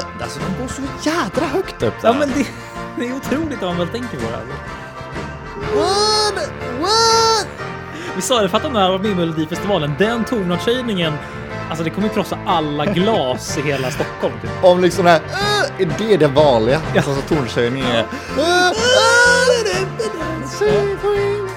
står så jädra högt upp Ja, men det, det är otroligt vad man väl tänker på det. Alltså. What? What? Vi sa det, fatta när han var med i Melodifestivalen, den tonartshöjningen, alltså det kommer ju krossa alla glas i hela Stockholm. Typ. Om liksom det här, "Äh", är det det vanliga? Ja. Alltså så tonshöjningen är... "Äh, äh, det är inte den som får in."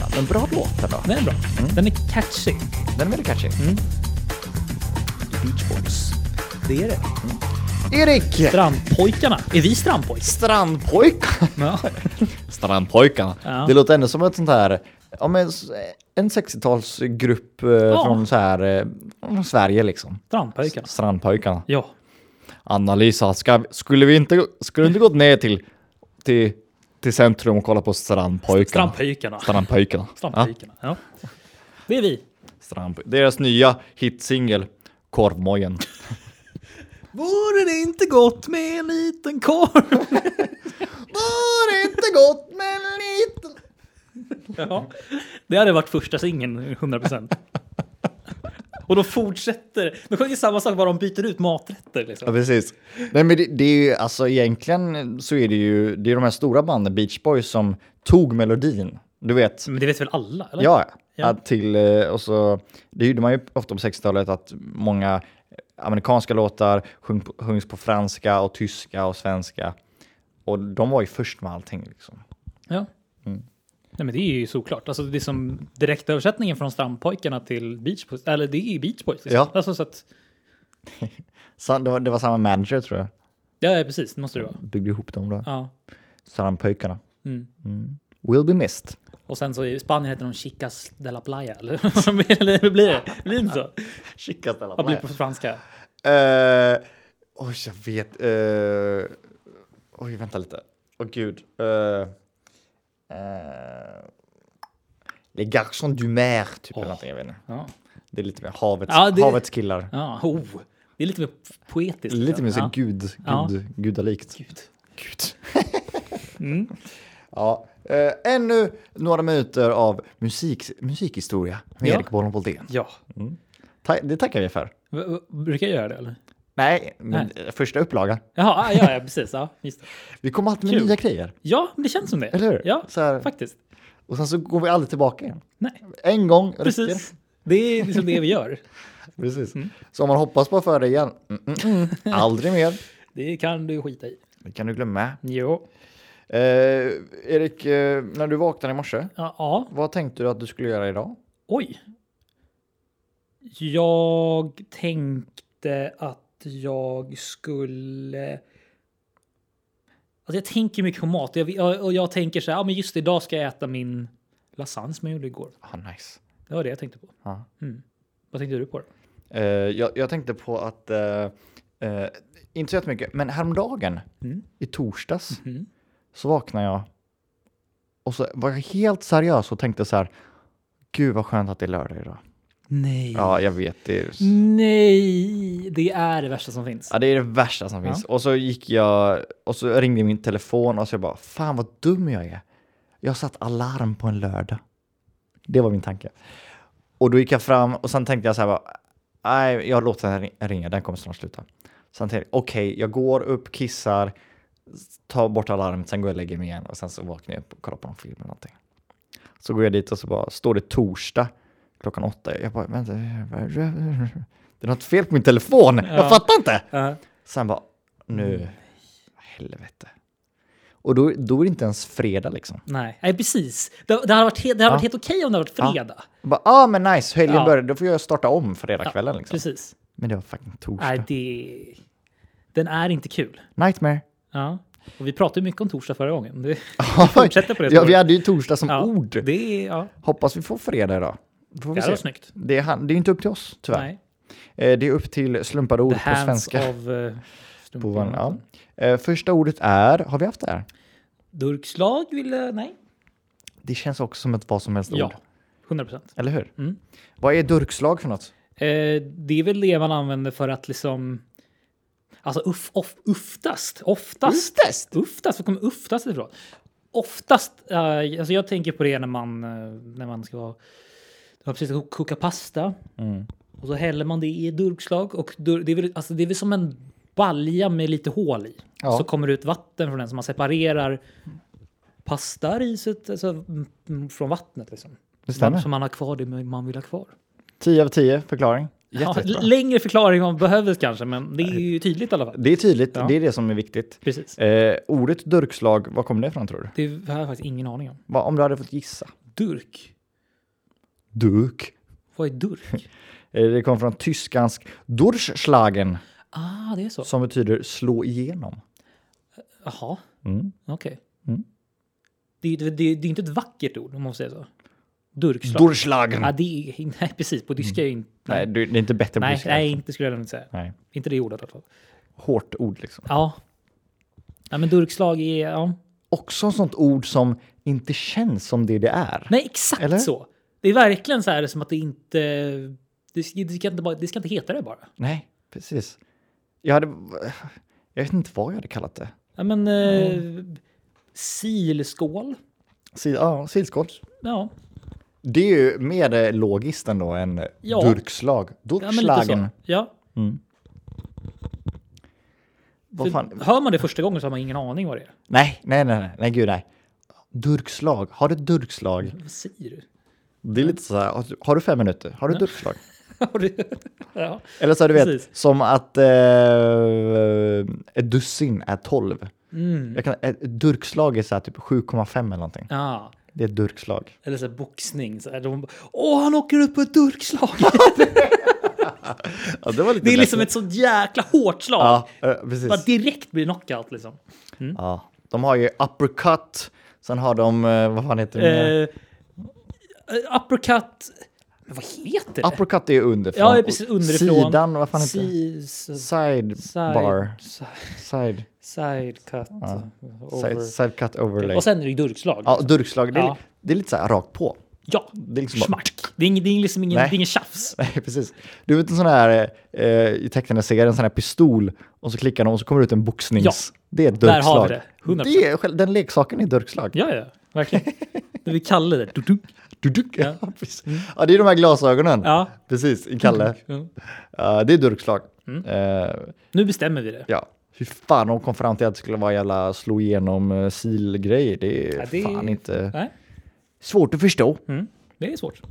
Ja, men bra låt ändå. Den är bra. Den är catchy. Den är väldigt catchy. Mm. Beach Boys. Mm. Det är det. Erik! Strandpojkarna. Är vi strandpojkar? Strandpojkar. Ja. Strandpojkarna. Ja. Det låter ändå som ett sånt här, ja men s- en 60-talsgrupp eh, från så här, eh, från Sverige liksom. Strandpojkarna. Strandpojkarna. Ja. Annalisa, ska, skulle vi inte, skulle du inte gått ner till, till, till centrum och kolla på strandpojkarna? Strandpojkarna. Strandpojkarna. Strandpojkarna. Ja. Det är vi. Ja, strandpoj- Deras nya hitsingel, Korvmojen. Vore det inte gott med en liten korv? Vore inte gott med en liten... Ja. Det hade varit första singeln, 100%. Och då fortsätter... De sjunger samma sak, bara de byter ut maträtter. Liksom. Ja, precis. Nej, men det, det är ju, alltså egentligen så är det ju, det är de här stora banden, Beach Boys, som tog melodin. Du vet, Men det vet väl alla? Eller? Ja, Ja. Att till, eh, och så, det gjorde man ju ofta på 60-talet att många amerikanska låtar sjung, på- sjungs på franska och tyska och svenska. Och de var ju först med allting. Liksom. Ja. Mm. Nej, men det är ju såklart. Alltså, det är som direktöversättningen från Strandpojkarna till Beach Boys. Eller det är ju Beach Boys. Liksom. Ja. Alltså, så att, Så det, var, det var samma manager tror jag, ja, precis. Det måste det vara. byggde ihop dem då. Ja. Strandpojkarna. Mm. Will be missed. Och sen så i Spanien heter de Chicas de la Playa. Eller hur blir det? Blir det inte så? Skicka ställa Vad blir det på franska? Eh, oj, jag vet. eh, oj, vänta lite. Åh gud. Eh, eh, Les garçons du mer, typ. Eller någonting, jag vet inte. Ja. Det är lite mer havets, Ja, det- havets killar. ja. Oh. Det är lite mer poetiskt. liksom. Lite mer så ja. gud, gud, Ja. gudalikt. Gud. Gud. Mm. Ja, eh, ännu några minuter av musik, musikhistoria med Ja. Erik Bollen Boldén. Ja. Ta, det tackar vi för. V- v- Brukar jag göra det eller? Nej, men första upplagan. Jaha, ah, ja, ja, precis. Ja, just det. Vi kommer alltid med Kul. nya grejer, ja, men det känns som det. eller hur? Ja, Så här, faktiskt. Och sen så går vi aldrig tillbaka igen. Nej, En gång räcker. precis. Mm. Det är liksom det vi gör. Precis. Så om man hoppas på att få det igen, mm, mm, mm. aldrig mer. Det kan du skita i. Det kan du glömma. Jo. Eh, Erik, eh, när du vaknade i morse, Ja, ja. vad tänkte du att du skulle göra idag? Oj. Jag tänkte att jag skulle... Alltså jag tänker mycket på mat jag, jag- och jag tänker så här, ja men just idag ska jag äta min lasagne som jag gjorde igår. Ah, nice. Det var det jag tänkte på. Ja. Mm. Vad tänkte du på då? Eh, jag, jag tänkte på att, eh, eh, inte så jättemycket, men häromdagen, Mm. i torsdags, Mm. så vaknade jag och så var jag helt seriös och tänkte så här, gud vad skönt att det är lördag idag. Nej. Ja, jag vet, det är, Nej, det är det värsta som finns. ja, det är det värsta som finns. Och så gick jag, och så ringde min telefon och så jag bara, fan vad dum jag är. Jag satt alarm på en lördag. Det var min tanke. Och då gick jag fram och sen tänkte jag så här, bara, nej, jag låter den ring- ringa, den kommer snart sluta. Sen tänkte jag, okej, jag går upp, kissar, s- tar bort alarmet, sen går jag och lägger mig igen och sen så vaknar jag upp och kollar på någon film eller någonting. Så går jag dit och så bara, står det torsdag klockan åtta. Jag bara, vänta, det är något fel på min telefon, Ja. jag fattar inte. Ja. Sen bara, nu, Mm. helvete. Och då, då är det inte ens fredag liksom. Nej. Nej, precis. Det, det hade varit, he- det hade varit Ja. helt okej om det hade varit Ja. fredag. Bara, ah, men nice, helgen Ja. börjar, då får jag starta om fredagskvällen. Liksom. Precis. Men det var fucking torsdag. Nej, det... Den är inte kul. Nightmare. Ja, och vi pratade ju mycket om torsdag förra gången. Det, fortsätter på det ja, spåret. vi hade ju torsdag som ja, ord. det är... Ja, Hoppas vi får fredag idag. Då Får det vi här var se. snyggt. Det, är han, det är inte upp till oss tyvärr. Nej, Eh, Det är upp till slumpade ord the på hands svenska. of... eh, Strumpor. På van, ja. Eh, Första ordet är, har vi haft det här? Durkslag ville... Nej. Det känns också som ett vad som helst ord. Ja. 100 procent. Eller hur? Mm. Vad är durkslag för något? Eh, det är väl det man använder för att liksom... Alltså uff, off, uftast. Oftast. Uftast? Uftast. Var kommer uftast ifrån? Oftast. Eh, alltså jag tänker på det när man, eh, när man ska vara... När man precis ska koka pasta. Mm. Och så häller man det i ett durkslag. Och dur, det, är väl, alltså det är väl som en balja med lite hål i. Ja. Så kommer det ut vatten från den. Så man separerar pastariset alltså, mm, mm, från vattnet. Liksom. Det stämmer. Så man har kvar det man vill ha kvar. 10 av 10 förklaring. Ja, Jättebra. längre förklaring man behövdes kanske, men det är ju tydligt i alla fall. Det är tydligt, Ja. det är det som är viktigt. Precis. Eh, ordet durkslag, var kommer det ifrån tror du? Det har jag faktiskt ingen aning om. Vad- Om du hade fått gissa? Durk. Duk. Vad är durk? Eh, det kommer från tyskansk durchschlagen ah, det är så. som betyder slå igenom. Jaha, Mm. okej. Mm. Det, det, det, det är inte ett vackert ord om man säger så. Durkslag. Durchschlagen. Ja, det är, nej, precis. På tyska är ju inte... Nej, du- det är inte bättre på nej, tyska. nej, inte skulle jag nog inte säga. Mm. nej. Inte det ordet i alla fall. Hårt ord liksom. Ja. ja men durkslag är... Ja. Också ett sånt ord som inte känns som det det är. Nej, exakt Eller? så. Det är verkligen så här som att det inte... Det, det, ska, inte bara, det ska inte heta det bara. Nej, precis. Jag hade... Jag vet inte vad jag hade kallat det. Ja, men... Eh, Silskål. Sil, ja, silskål. Ja, Det är ju mer eh, logiskt ändå än Ja. durkslag. ja men lite Durkslagen. så. Ja. Mm. Vad fan? Hör man det första gången så har man ingen aning vad det är. Nej, nej, nej, nej, nej, gud nej. Durkslag. Har du durkslag? Vad säger du? Det är lite så här, har du- har du fem minuter? Har du durkslag? Har du- ja. Eller så här, du vet, Precis. som att eh, ett dussin är tolv. Mm. Jag kan, ett durkslag är så här typ 7,5 eller någonting. ja. Det är ett durkslag. Eller så här boxning. Så här, de bara, Åh, han åker upp på ett durkslag! Ja, det var lite Det är liksom bättre. ett sånt jäkla hårt slag. Ja, eh, precis. Bara direkt blir knockout liksom. Ja, de har ju uppercut. Sen har de, eh, vad fan heter det? Eh, uppercut... Men vad heter det? uppercut är ju underifrån. ja, det är precis underifrån. Sidan, vad fan heter det? Si- s- Side, side, bar. si- Side, Side cut. Over. side, side cut overlay. Och sen är det ju durkslag. ja, durkslag. Det är, Ja. det är lite så här rakt på. Ja, Det är liksom bara- smack. Det är, ing, det är liksom ingen, det Nej. är ingen tjafs. Nej, precis. Du vet en sån här, eh, i tecknade serien, en sån här pistol och så klickar de och så kommer det ut en boxnings. Ja. Det är ett Där durkslag. har vi det. 100%. Det är, själv- den leksaken är durkslag. Ja, ja, verkligen. Det vi kallar det. Du, du. Du, du, Ja. ja. precis. ja, det är de här glasögonen. Ja. Mm. Precis, i Kalle. Ja. Ja, det är durkslag. Mm. Eh, Nu bestämmer vi det. ja. Fy fan, de kom fram till att det skulle vara jävla slå igenom eh, silgrej. Det är Ja, det är- fan inte... Nej, Svårt att förstå, mm. det är svårt.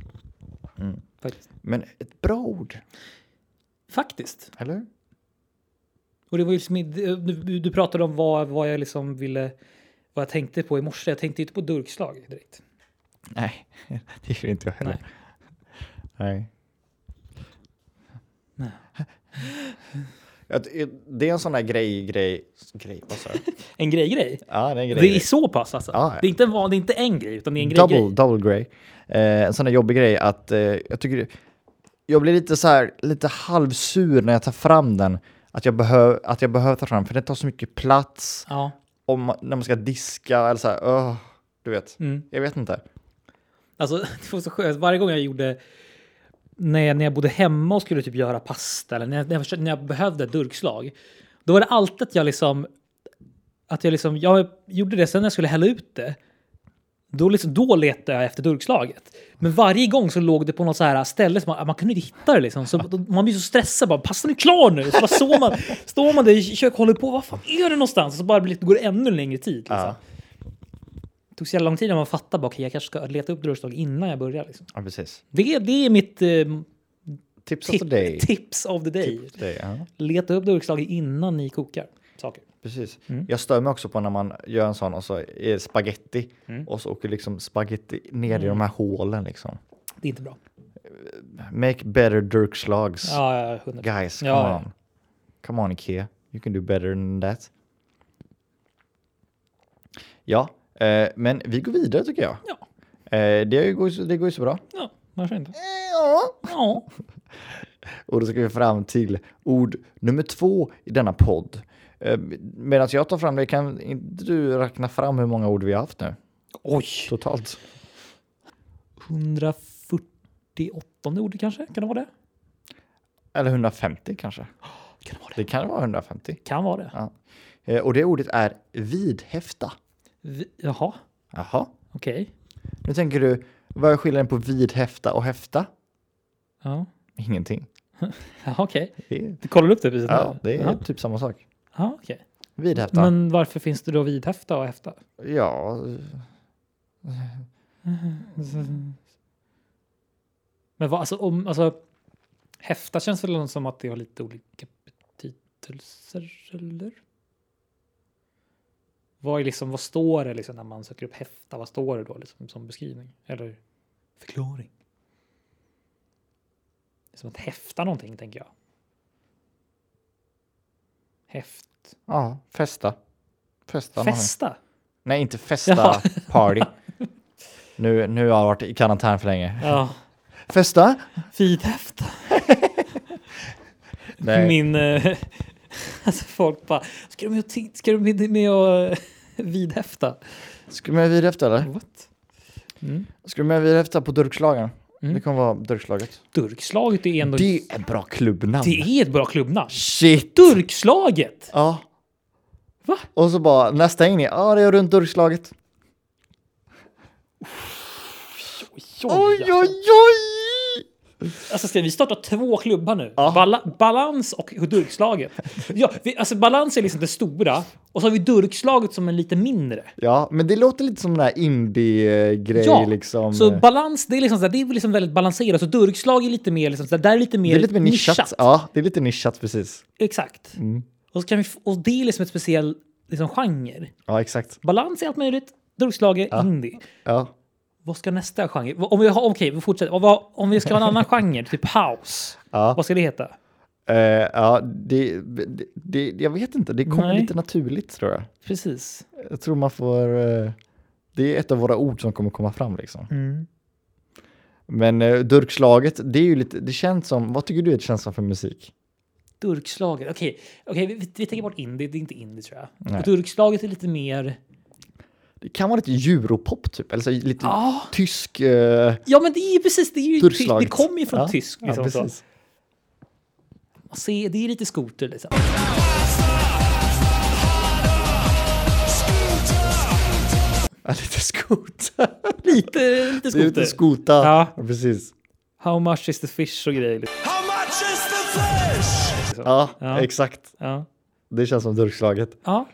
Mm. Faktiskt. men ett bra ord. Faktiskt. Eller? Och det var ju liksom, i- du, du pratade om vad, vad jag liksom ville, vad jag tänkte på i morse. Jag tänkte ju inte på durkslag direkt. Nej, det är inte jag heller. Nej. Nej. Att, eh, Det är en sån där grej, grej, grej, vad sa jag? En grej-grej. Ja, det är en grej. Det är så pass alltså. Ja, ja. Det, är inte en van, det är inte en grej, utan det är en double, grej-grej. double grej. Eh, en sån där jobbig grej att eh, jag tycker, jag blir lite så här, lite halvsur när jag tar fram den. Att jag, behöv, att jag behöver ta fram, för den tar så mycket plats Ja. om, man- när man ska diska eller så här, öh, du vet. Mm. Jag vet inte. Alltså, det var så skönt. Varje gång jag gjorde... När jag, när jag bodde hemma och skulle typ göra pasta eller när jag, när jag, försökte, när jag behövde ett durkslag. Då var det alltid att jag liksom... Att jag liksom... Jag gjorde det, sen när jag skulle hälla ut det. Då, liksom, då letade jag efter durkslaget. Men varje gång så låg det på något så här ställe som man, man kunde inte hitta det. Liksom. Så då- man blir så stressad. Bara, pastan är klar nu! Så bara så man, står man där i köket och håller på. Vad fan är det någonstans? Så bara blir, det- går det ännu längre tid. Liksom. Ja. Det tog så jävla lång tid när man fattade bara, okay, jag kanske ska leta upp durkslag innan jag börjar. Liksom. Ja, precis. Det, det är mitt eh, Tips of the day. tip, tips of the day. Tips of the day, ja. Leta upp durkslag innan ni kokar saker. Precis. Mm. Jag stör mig också på när man gör en sån och så är det spaghetti Mm. och så åker liksom spaghetti ner i de här hålen liksom. Det är inte bra. Make better durkslags. Ja, ja, ja, 100%. Guys, come Ja, ja. on. Come on Ikea. You can do better than that. Ja, eh, men vi går vidare tycker jag. Ja. Eh, det, har ju går, ju så- det går ju så bra. ja varför inte? Ja. Eh, Ja. Och då ska vi fram till ord nummer två i denna podd. Eh, Medan jag tar fram det, kan inte du räkna fram hur många ord vi har haft nu? Oj! Totalt. 148 ord kanske? Kan det vara det? Eller 150 kanske. Kan det vara Det kan vara 150. Kan vara det. Eh, Och det ordet är vidhäfta. Vi, jaha, Jaha. okej. Nu tänker du, vad är skillnaden på vidhäfta och häfta? Ja. Ingenting. Jaha, okej. Det är, Du kollade upp det precis? ja, nu? det är Ja. typ samma sak. Ja, okej. Vidhäfta. Men varför finns det då vidhäfta och häfta? Ja, Men vad, alltså, om, alltså, häfta känns väl som att det har lite olika betydelser, eller? Vad, är liksom, vad står det liksom när man söker upp häfta? Vad står det då liksom, som beskrivning? Eller förklaring? Det är som att häfta någonting, tänker jag. Häft... ja festa. Festa. någonting. Fästa? Nej, inte festa Jaha. party. Nu, nu har jag varit i karantän för länge. Ja. Festa? Vidhäfta? Nej. Min... eh, Alltså folk bara, ska du med och, ti- ska du med, med och eh, vidhäfta? Ska du med vidhäfta eller? What? Mm. Ska du med vidhäfta på Durkslagen? Mm. Det kommer vara Durkslaget. Durkslaget är ändå... Det är en bra klubbnamn. det är ett bra klubbnamn. Shit! Durkslaget! Ja. Va? Och så bara nästa in i, ja det är runt Durkslaget. Oj, oj, oj! Alltså ska vi starta två klubbar nu? Ja. Bala- balans och Durkslaget. Ja, vi, alltså balans är liksom det stora och så har vi Durkslaget som en lite mindre. Ja, men det låter lite som den här indie-grej Ja, liksom. Så balans, det är liksom, så här, det är väl liksom väldigt balanserat. Så durkslag är lite mer, liksom, så här, där är lite mer, det är lite mer nischat. Mm. Ja, det är lite nischat precis. Exakt. Och, så kan vi, f- och det är liksom ett speciell liksom, genre. Ja, exakt. Balans är allt möjligt, durkslag är indie. Ja. Vad ska nästa genre? Vad- Om vi har, okej, vi fortsätter. Om vi har- Om vi ska ha en annan genre, typ house, Ja. vad ska det heta? Eh, ja, det, det, det, jag vet inte, det kommer Nej. lite naturligt tror jag. Precis. Jag tror man får, eh, det är ett av våra ord som kommer komma fram liksom. Mm. Men eh, durkslaget, det är ju lite, det känns som, vad tycker du det känns som för musik? Durkslaget, okej, okej, vi, vi tänker bort indie, det är inte indie tror jag. Nej. Och durkslaget är lite mer, Det kan vara lite europop typ, eller så lite Ja. tysk... Eh, ja men det är ju precis, det, är ju tyst, det durkslaget. kommer ju från ja. tysk. ja, Liksom, så. precis. Man ser, det är lite skoter liksom. Ja, lite skota. Lite, lite Det är skoter. lite skota. Ja. precis. How much is the fish och grejer. Liksom. How much is the fish? Ja, Ja. exakt. Ja. Det känns som durkslaget. Ja.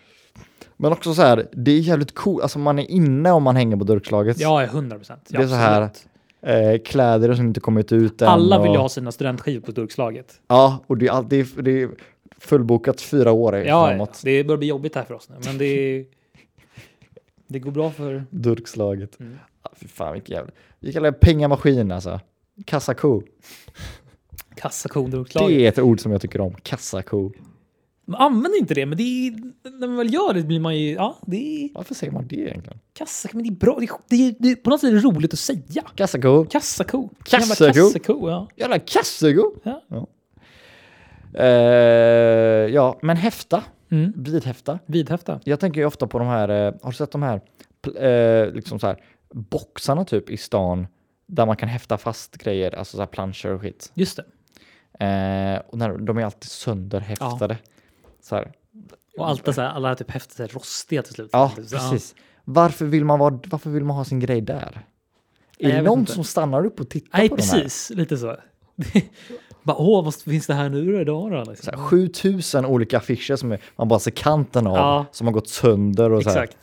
Men också så här, det är jävligt coolt, alltså man är inne om man hänger på durkslaget. ja, 100 procent. Det är så här, eh, kläder som inte kommit ut än. Alla vill och, ju ha sina studentskivor på durkslaget. Ja, och det är, all, det är, det är fullbokat fyra år Ja, ja, framåt. det börjar bli jobbigt här för oss nu, men det, är- det går bra för... Durkslaget. Mm. Ah, fy fan vilken jävla... Vi kallar det pengamaskin alltså. Kassako. Kassakon durkslaget. Det är ett ord som jag tycker om. Kassako. Man använder inte det, men det är, när man väl gör det blir man ju... Ja, det är Varför säger man det egentligen? kassako, men det är bra. Det är, det är, det är på något sätt är det roligt att säga. Kassako. Kassako. Kassako. Jävla Kassako, ja. Jävla kassako! Ja. Eh, ja, men häfta. Mm. Vidhäfta. Vidhäfta. Jag tänker ju ofta på de här, eh, har du sett de här, pl- eh, liksom så här boxarna typ i stan där man kan häfta fast grejer, alltså så här planscher och skit. Just det. Eh, och när, de är alltid sönderhäftade. Så här. Och allt det så här, alla typ häfter så här rostiga till slut. Ja, Typ så, precis. Varför vill, man vara, varför vill man ha sin grej där? Är jag det vet någon inte. som stannar upp och tittar Nej, på de här? precis. Lite så. Bara, åh, vad finns det här nu då idag då? Liksom. Så här 7000 olika affischer som är, man bara ser kanten av, Ja. som har gått sönder och så här. Exakt.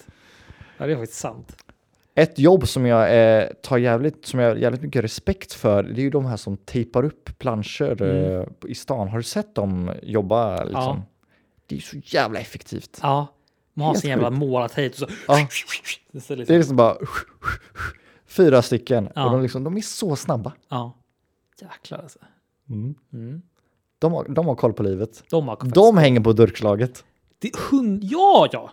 Ja, det är faktiskt sant. Ett jobb som jag eh, tar jävligt, som jag har jävligt mycket respekt för, det är ju de här som tejpar upp planscher Mm. eh, i stan. Har du sett dem jobba liksom? Ja. Det är ju så jävla effektivt. Ja, man har Helt sin jävla målartejp och så. Ja. Det ser Det liksom, är liksom bara fyra stycken Ja. och de, liksom, de är så snabba. ja. Jäklar alltså. Mm. De, har, de har koll på livet. De har faktiskt... De hänger på durkslaget. Det är hund... Ja, ja!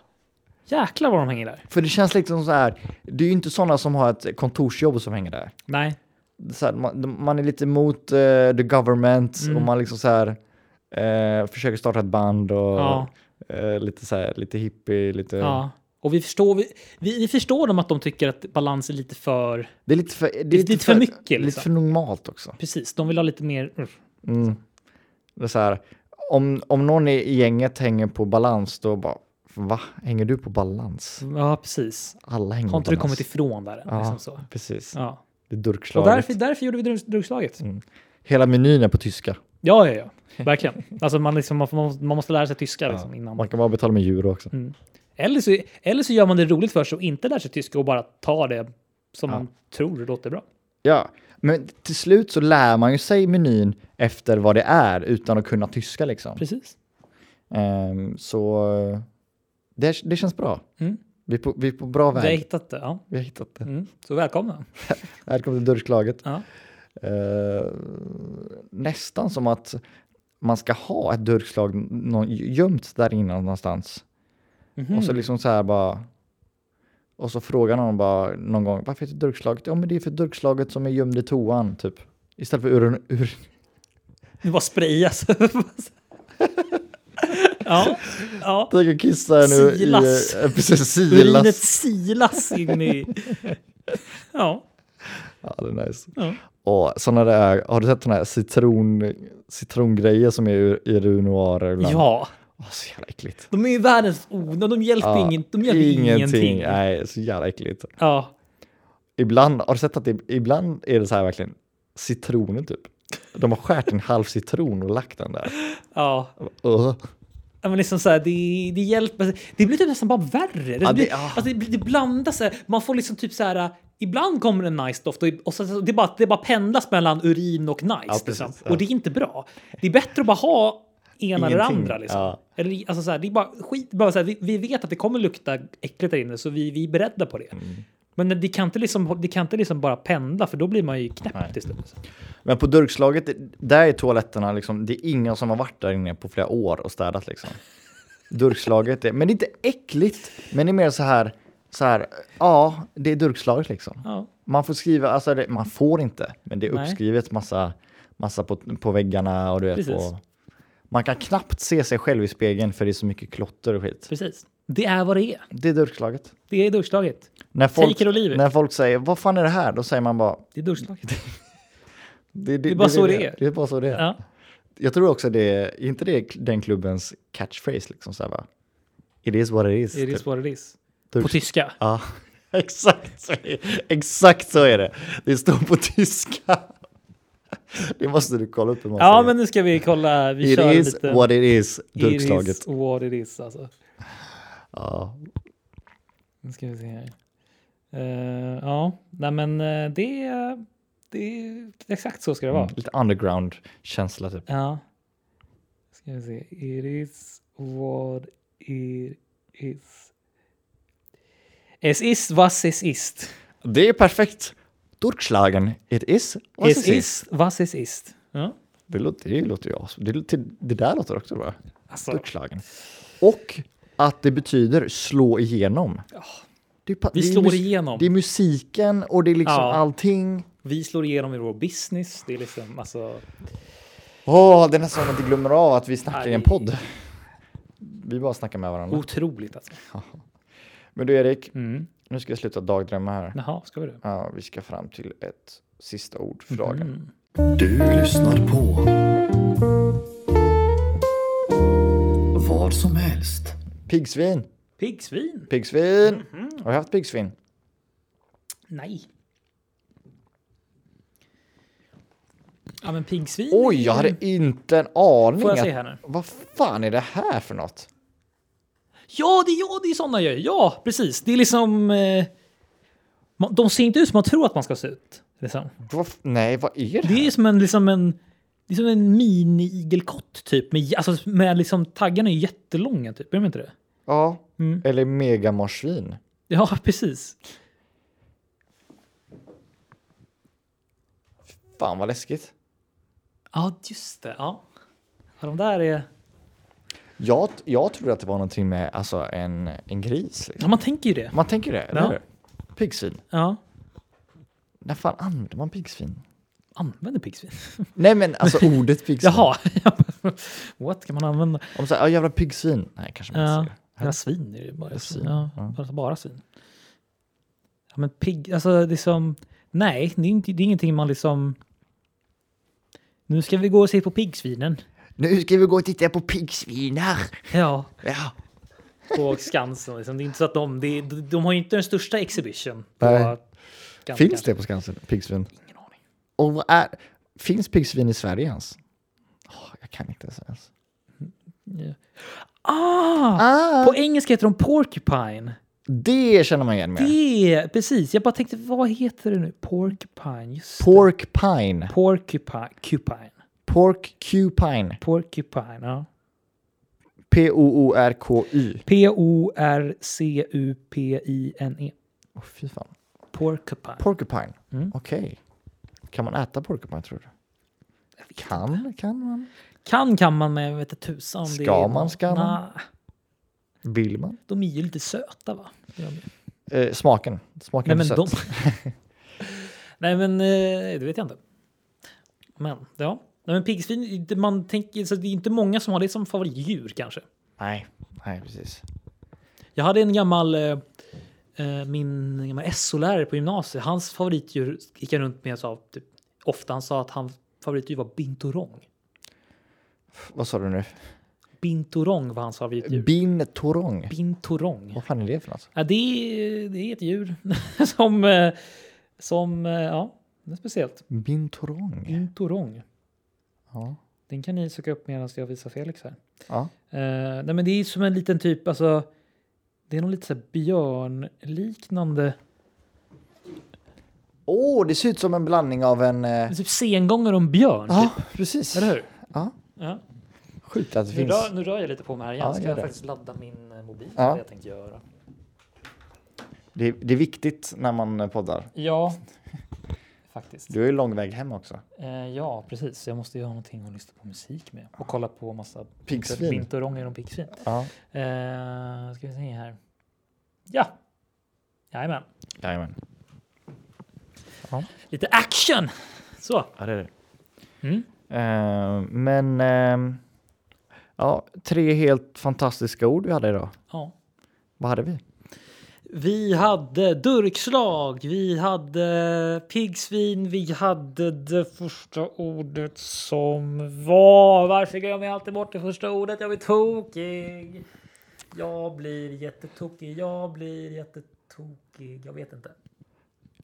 Jäklar vad de hänger där. För det känns liksom så här, det är ju inte sådana som har ett kontorsjobb som hänger där. Nej. så här, man, de- man är lite emot Mm. eh, the government och man liksom så här, eh, försöker starta ett band och Ja. Eh, lite så här, lite hippie, lite... Ja. Och vi förstår, vi, vi, vi förstår dem att de tycker att balans är lite för... Det är lite för, det är lite för mycket, Lite liksom. för normalt också. Precis, de vill ha lite mer... mm. Mm. Det är så här, om, om någon i gänget hänger på balans, då bara va? Hänger du på balans? Ja, precis. Alla hänger Har inte på du balans. kommit ifrån där? Ja, Liksom så. precis. Ja. Det är Och durkslaget. därför, därför gjorde vi drog- drogslaget. Mm. Hela menyn är på tyska. Ja, ja, ja. Verkligen. Alltså man, liksom, man, får- man måste- man måste lära sig tyska liksom, innan. Man kan bara betala med euro också. Mm. Eller, så, eller så gör man det roligt för sig och inte lär sig tyska och bara tar det som man tror låter bra. Ja, men till slut så lär man ju sig menyn efter vad det är utan att kunna tyska liksom. Precis. Ehm, så eh, det, det känns bra. Mm. Vi, är på, vi är på bra Vi har väg. hittat det. Ja. Vi har hittat det. Mm. Så välkomna. Här kommer det durklaget. Ja. Eh, nästan som att man ska ha ett durkslag nå- gömt där innan någonstans. Mhm. Och så liksom så här bara... Och så frågar någon bara någon gång, varför heter durkslaget? Ja men det är för durkslaget som är gömd i toan, typ. Istället för ur, ur Nu bara sprayas. ja. ja. Jag tänker kissa här nu Silas. i... eh, Precis, Urinet silas. silas in i... Ja. Ja, det är nice. ja. Och såna där, har du sett såna här citron, citrongrejer som är ur- i runoarer ibland? Ja, Åh, så jävla äckligt. de är ju världens onödiga. De hjälper, Ja, ingen, de hjälper ingenting. Ah, Nej, så jävla äckligt. Ja. Ibland, har du sett att det, ibland är det så här verkligen citroner typ. De har skärt en halv citron och lagt den där. Ja, Ugh. Ja, men liksom så här, det, det hjälper. Det blir typ nästan bara värre. Det, Ja, blir, det- ah. alltså, det, blir- det blandas. så här. Man får liksom typ så här. äh, Ibland kommer en nice doft och, och så, så- det, bara, det bara pendlas mellan urin och nice. Ja, precis, liksom. ja. Och det är inte bra. Det är bättre att bara ha ena eller Ingenting, andra. Liksom. ja. Eller, alltså, så här, det är bara skit. Bara, så här, vi, vi vet att det kommer lukta äckligt där inne så vi, vi är beredda på det. Mm. Men det kan inte, liksom, det kan inte liksom bara pendla för då blir man ju knäpp till slut. Men på durkslaget, där är toaletterna liksom, det är ingen som har varit där inne på flera år och städat liksom. Durkslaget är, men det är inte äckligt, men det är mer så här, så här, ja, det är durkslaget liksom. Ja. Man får skriva, alltså det, man får inte, men det är Nej. uppskrivet massa, massa på, på väggarna och du vet, Precis. på, man kan knappt se sig själv i spegeln för det är så mycket klotter och skit. Precis. Det är vad det är. Det är durkslaget. Det är duschlaget. När folk, Take it or leave it. när folk säger, vad fan är det här? Då säger man bara, Det är duschlaget. det, är bara så det är. Det är bara så det är. Ja. Jag tror också det är, är inte det den klubbens catchphrase liksom så här va? It is what it is. It is typ. what it is. Typ. På tyska. Ja, exakt så, är, exakt så är det. Det står på tyska. Det måste du kolla upp hur man Ja, säger. men nu ska vi kolla. Vi It kör is lite. what it is, It is durkslaget. what it is. Alltså. Ja. Nu ska vi se här. Eh, ja, nej men eh, det, är- det är exakt så ska det vara. Mm, lite underground-känsla typ. Ja. Ska vi se. It is what it is. Es ist was es ist. Det är perfekt. Durkslagen, it is what Es it is. ist was es ist. Ja. Det låter det låter ju as- det, låter- det där låter också bra. Alltså, Uppslagen. Och att det betyder slå igenom. Det är pa- Vi det är slår mus- igenom. Det är musiken och det är liksom Ja. allting. vi slår igenom i vår business. Det är liksom alltså. Åh, det är nästan som att vi glömmer av att vi snackar i en Nej. podd. Vi bara snackar med varandra. Otroligt alltså. Men du Erik, Mm. nu ska jag sluta dagdrömma här. Jaha, ska vi det? Ja, vi ska fram till ett sista ord för Mhm. dagen. Du lyssnar på vad som helst. Piggsvin! Piggsvin? Piggsvin! Mhm. Har jag haft piggsvin? Nej. Ja men piggsvin. Oj, jag hade inte en aning. Mm. Får jag att- se här nu? Vad fan är det här för något? Ja, det, ja, det är sådana jag gör. Ja, precis. Det är liksom... Eh, man- de ser inte ut som man tror att man ska se ut. Liksom. Vad f- nej, vad är det? Det är som en, liksom en, det är som en mini-igelkott typ. Med, alltså, med liksom, taggarna är jättelånga typ, är de inte det? Ja, Mm. eller megamorsvin. Ja, precis. Fan vad läskigt. Ja, just det. Ja. ja de där är... Jag, jag trodde att det var någonting med alltså, en, en gris. liksom. Ja, man tänker ju det. Man tänker det, eller Ja. hur? Piggsvin. Ja. När fan använder man piggsvin? Använder piggsvin? Nej men alltså ordet piggsvin. Jaha. What kan man använda? Om så här, ja, jävla piggsvin. Nej, kanske man Ja, inte ser. ja svin är det ju bara. Svin, Ja, ja. bara, bara svin. Ja, men pigg, alltså liksom, nej, det är, inte, det är ingenting man liksom... Nu ska vi gå och se på piggsvinen. Nu ska vi gå och titta på piggsvinar. Ja, Ja. på Skansen. Liksom. Det är inte så att de, det, de har ju inte den största exhibition. På Nej. Skansen, Finns kanske. det på Skansen, piggsvin? Ingen aning. Och vad är... Finns piggsvin i Sverige ens? Åh, jag kan inte ens. ens. Ah, Ah, På engelska heter de porcupine. det känner man igen med. Det, precis. Jag bara tänkte, vad heter det nu? Porcupine. Just det. Pork pine. Porcupine. Cupine. Pork cupine. Porcupine, ja. P-O-O-R-K-Y. P-O-R-C-U-P-I-N-E. Åh, fy fan. E. Porcupine. Porcupine. Mm. Okej. Kan man äta porcupine tror du? Kan, kan man? kan kan man, men jag vet inte tusan. om det Ska är- man, ska man? Nah, Vill man? de är ju lite söta, va? Det är de ju. Eh, smaken. Nej Smaken men, är de... söt. Nej men eh, det vet jag inte. Men ja. Nej, men piggsvin, det- man tänker, så det är inte många som har det som favoritdjur kanske. Nej, nej precis. Jag hade en gammal, eh, eh, min gammal SO-lärare på gymnasiet, hans favoritdjur gick jag runt med och sa typ, ofta han sa att hans favoritdjur var binturong. Vad sa du nu? Binturong var hans favoritdjur. Binturong. Binturong. Vad fan är det för något? Ja, det, är- det är ett djur som, eh, som, eh, ja, det är speciellt. Binturong. Mm. Binturong. Ja. Den kan ni söka upp medan jag visar Felix här. ja. Eh, nej men det är som en liten typ, alltså. Det är någon lite så här björnliknande. Åh, det ser ut som en blandning av en... Det eh, är Typ sengångare och en björn. Ja, Typ. precis. Eller hur? Ja. Ja. Sjukt att det Nu, finns. rör, nu rör jag lite på mig här igen. Ja, Ska gör jag det. faktiskt ladda min eh, mobil? Ja. Det jag tänkte göra. Det, det är viktigt när man eh, poddar. Ja, faktiskt. Du är ju lång väg hem också. Eh, ja, precis. Jag måste ju ha någonting att lyssna på musik med. Och kolla på massa Piggsvin. Binturonger och piggsvin. Ja. Eh, ska vi se här. Ja. Jajamän. Jajamän. Lite action! Så. Ja, det är det. Mm. Eh, men... ehm, ja, tre helt fantastiska ord vi hade idag. Ja. Vad hade vi? Vi hade durkslag, vi hade piggsvin, vi hade det första ordet som var... Varför glömmer jag alltid bort det första ordet? Jag blir tokig. Jag blir jättetokig, jag blir jättetokig. Jag vet inte.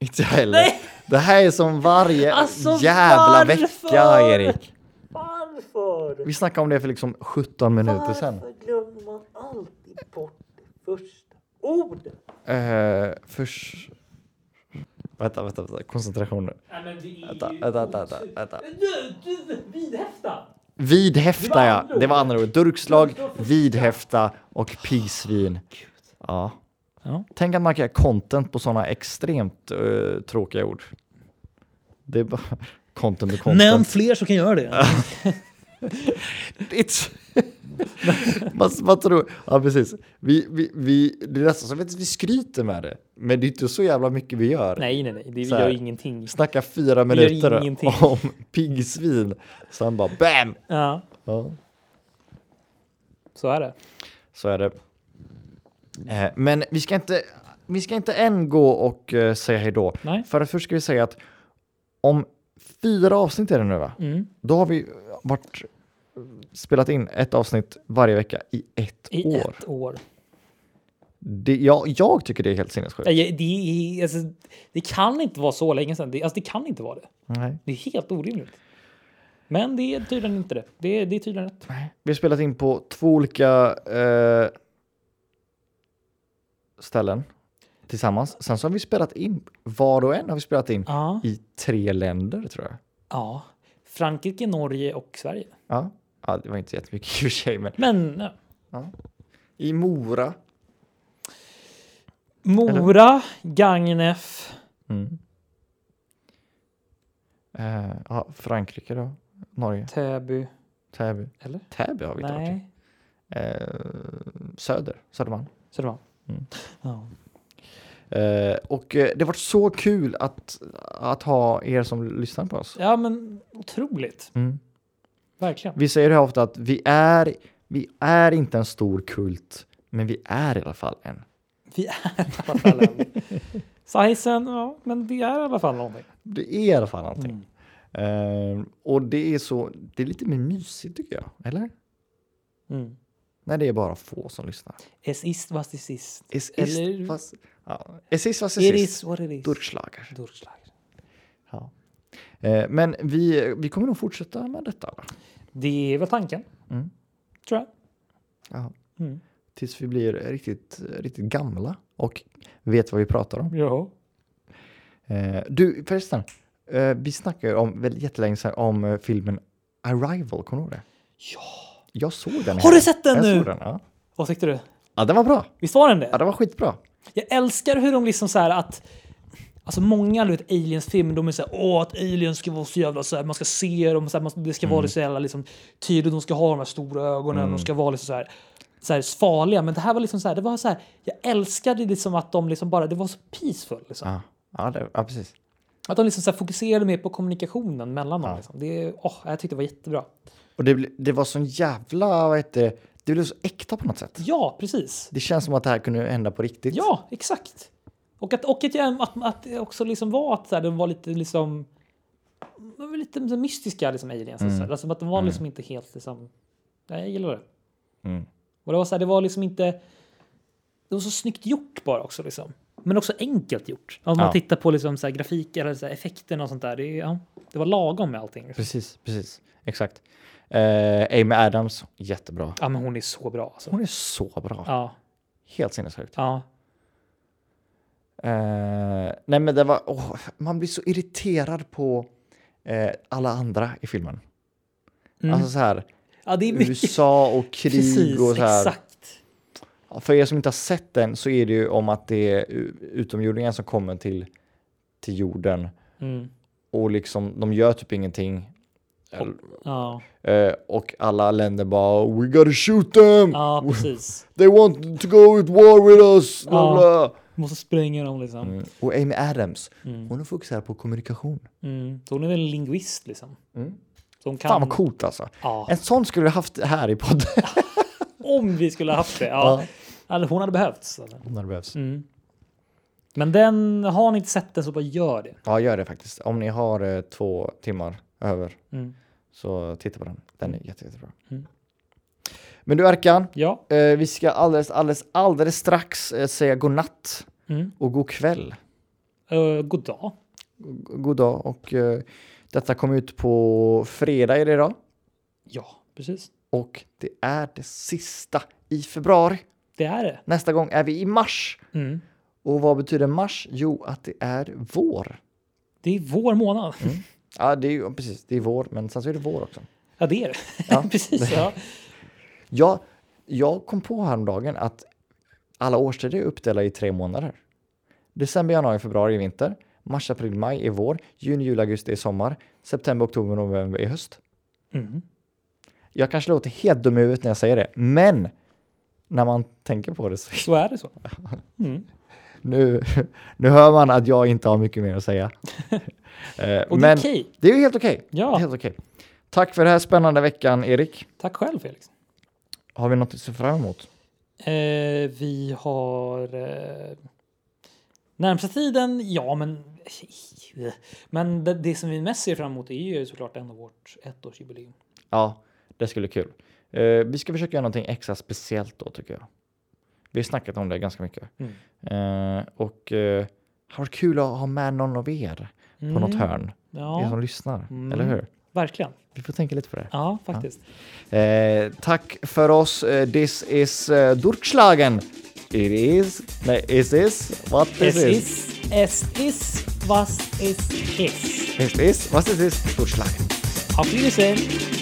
Inte jag heller. Det här är som varje Alltså, jävla vecka, varför? Erik. Varför? Vi snackade om det för liksom 17 minuter sedan. glömmer man alltid bort det första ordet? Eh, först... Vänta, vänta, vänta. Koncentration nu. Nej, men det är Vänta, ju... vänta, vänta, vänta. Du, du, vidhäfta! Vidhäfta, Det var ja. andra Det var ordet. andra ordet. Durkslag, Det var första. vidhäfta och pigsvin. Ja. Ja. Tänk att man kan göra content på sådana extremt eh, tråkiga ord. Det är bara content och content. Nämn fler som kan göra det. It's... man, man tror... Ja, precis. Vi, vi, vi, det är nästan som att vi skryter med det, men det är inte så jävla mycket vi gör. Nej, nej, nej. Det, vi Så här. gör ingenting. Snacka fyra gör minuter ingenting. om piggsvin, sen bara BAM! Ja, Ja, så är det. så är det. Eh, men vi ska inte, vi ska inte än gå och eh, säga hej då. Nej. För att först ska vi säga att om fyra avsnitt är det nu va? Mm. Då har vi varit, spelat in ett avsnitt varje vecka i ett I år. ett år. Det, jag, jag tycker det är helt sinnessjukt. Nej, Det, är- alltså, det kan inte vara så länge sedan. Det, alltså, det kan inte vara det. Nej. Det är helt orimligt. Men det är tydligen inte det. Det är, det är tydligen rätt. Vi har spelat in på två olika eh, ställen tillsammans. Sen så har vi spelat in, var och en har vi spelat in Ja. i tre länder tror jag. ja. Frankrike, Norge och Sverige. Ja, ja det var inte jättemycket i och för sig, men Men ja. i Mora. Mora, Gagnef. Mm. Eh, ja, Frankrike då, Norge, Täby. Täby. Eller? Täby har vi inte varit i. Nej. eh, Söder, Södermalm. Södermalm. Mm. Ja. Eh, och eh, det har varit så kul att, att ha er som lyssnar på oss. ja, men otroligt. Mm. Verkligen. Vi säger det här ofta att vi är, vi är inte en stor kult, men vi är i alla fall en. Vi är i alla fall en. Sizen, ja, men vi är i alla fall någonting. Det är i alla fall någonting. Mm. Ehm, och det är så, det är lite mer mysigt tycker jag, eller? Mm. När det är bara få som lyssnar. Es ist was es ist. Es ist Eller- was... Ja. Es ist was It es is ist. what it is. Durchschlager. Durchschlager. Ja. Eh, Men vi, vi kommer nog fortsätta med detta. Va? Det är väl tanken. Mm. Tror jag. Ja. Mm. Tills vi blir riktigt, riktigt gamla och vet vad vi pratar om. Ja. Eh, Du, förresten. eh, Vi snackade om, väldigt jättelänge sedan om eh, filmen Arrival, kommer du ihåg det? ja. Jag såg den. Har du sett den jag nu? Såg den, ja. Vad tyckte du? ja, den var bra. Visst var den det? Ja, den var skitbra. Jag älskar hur de liksom så här att Alltså många du vet, aliens-filmer, de är såhär åh att aliens ska vara så jävla såhär, man ska se dem, såhär, man, det ska Mm. vara så jävla liksom, tydligt, de ska ha de här stora ögonen, de ska vara liksom såhär, såhär farliga. Men det här var liksom såhär, det var såhär, jag älskade liksom att de liksom bara, det var så peaceful liksom. Ja, ja, det, ja precis. Att de liksom såhär fokuserade mer på kommunikationen mellan dem. Ja. Liksom. Det, åh, jag tyckte det var jättebra. Och det, bli- det var sån jävla, vad heter det, det blev så äkta på något sätt. Ja, precis. Det känns som att det här kunde hända på riktigt. Ja, exakt. Och att, och att, jag, att, att det också liksom var att så här, den var lite liksom de var lite så mystiska liksom aliens. Mm. och Så här. Alltså, att de var liksom inte helt liksom. Nej, jag gillar det. Mm. Och det var så här, det var liksom inte. Det var så snyggt gjort bara också liksom. Men också enkelt gjort. Om man Ja. tittar på liksom så här, grafik eller så här, effekterna och sånt där. Det, är- ja, det var lagom med allting. Liksom. Precis, precis. Exakt. Eh, Amy Adams, jättebra. Ja, men hon är så bra alltså. Hon är så bra. Ja, Helt sinnessjukt. ja, Eh, nej men det var, åh, man blir så irriterad på eh, alla andra i filmen. Mm. Alltså så här, ja, det är mycket. USA och krig Precis, och så här. exakt. För er som inte har sett den så är det ju om att det är u- utomjordingar som kommer till, till jorden Mm. och liksom de gör typ ingenting. Ja, Eh, och alla länder bara “We gotta shoot them! ja, precis. They want to go at war with us!” bla, Ja. bla. Måste spränga dem liksom. Mm. Och Amy Adams, Mm. hon fokuserar på kommunikation. Mm. Så hon är väl en lingvist liksom. Mm. Så hon kan... Fan vad coolt alltså. Ja, En sån skulle vi haft här i podden. om vi skulle ha haft det. Ja. Alltså, hon hade behövts. alltså. Om det behövs. Mm. Men den, har ni inte sett den så bara gör det. Ja, gör det faktiskt. Om ni har eh, två timmar över Mm. så titta på den. Den är jätte, jättebra. Mm. Men du Erkan, Ja. eh, vi ska alldeles, alldeles, alldeles strax eh, säga godnatt Mm. och god kväll. Uh, god dag. G- God dag och eh, detta kom ut på fredag är det idag Ja, precis. och det är det sista i februari. Det är det. Nästa gång är vi i mars Mm. och vad betyder mars? Jo, att det är vår. Det är vår månad. Mm. Ja, det är ju precis. Det är vår, men sen så är det vår också. Ja, det är det. Ja. precis. Ja. Jag, jag kom på häromdagen att alla årstider är uppdelade i tre månader. December, januari, februari är vinter. Mars, april, maj är vår. Juni, juli, augusti är sommar. September, oktober, november är höst. Mm. Jag kanske låter helt dum i huvudet när jag säger det, men när man tänker på det så Så är det så. Mm. nu, nu hör man att jag inte har mycket mer att säga. Eh, Och det är men okej. det är ju helt okej. Det är Ja, helt okej. Tack för den här spännande veckan, Erik. tack själv Felix. Har vi något att se fram emot? Eh, vi har... Eh, närmsta tiden, ja men... Men det, det som vi mest ser fram emot är ju såklart ändå vårt ettårsjubileum. Ja, det skulle bli kul. Eh, vi ska försöka göra någonting extra speciellt då tycker jag. Vi har snackat om det ganska mycket. Mm. Eh, och eh, det har varit kul att ha med någon av er på något hörn. Er som Mm. Ja, lyssnar, Mm. eller hur? verkligen. Vi får tänka lite på det. Ja, faktiskt. Eh, tack för oss. Eh, this is uh, Durchslagen. It is... Nej, is this? What Es is this? is, es is, was es is. Is this? What is this? Durchslagen. Auf Wiedersehen!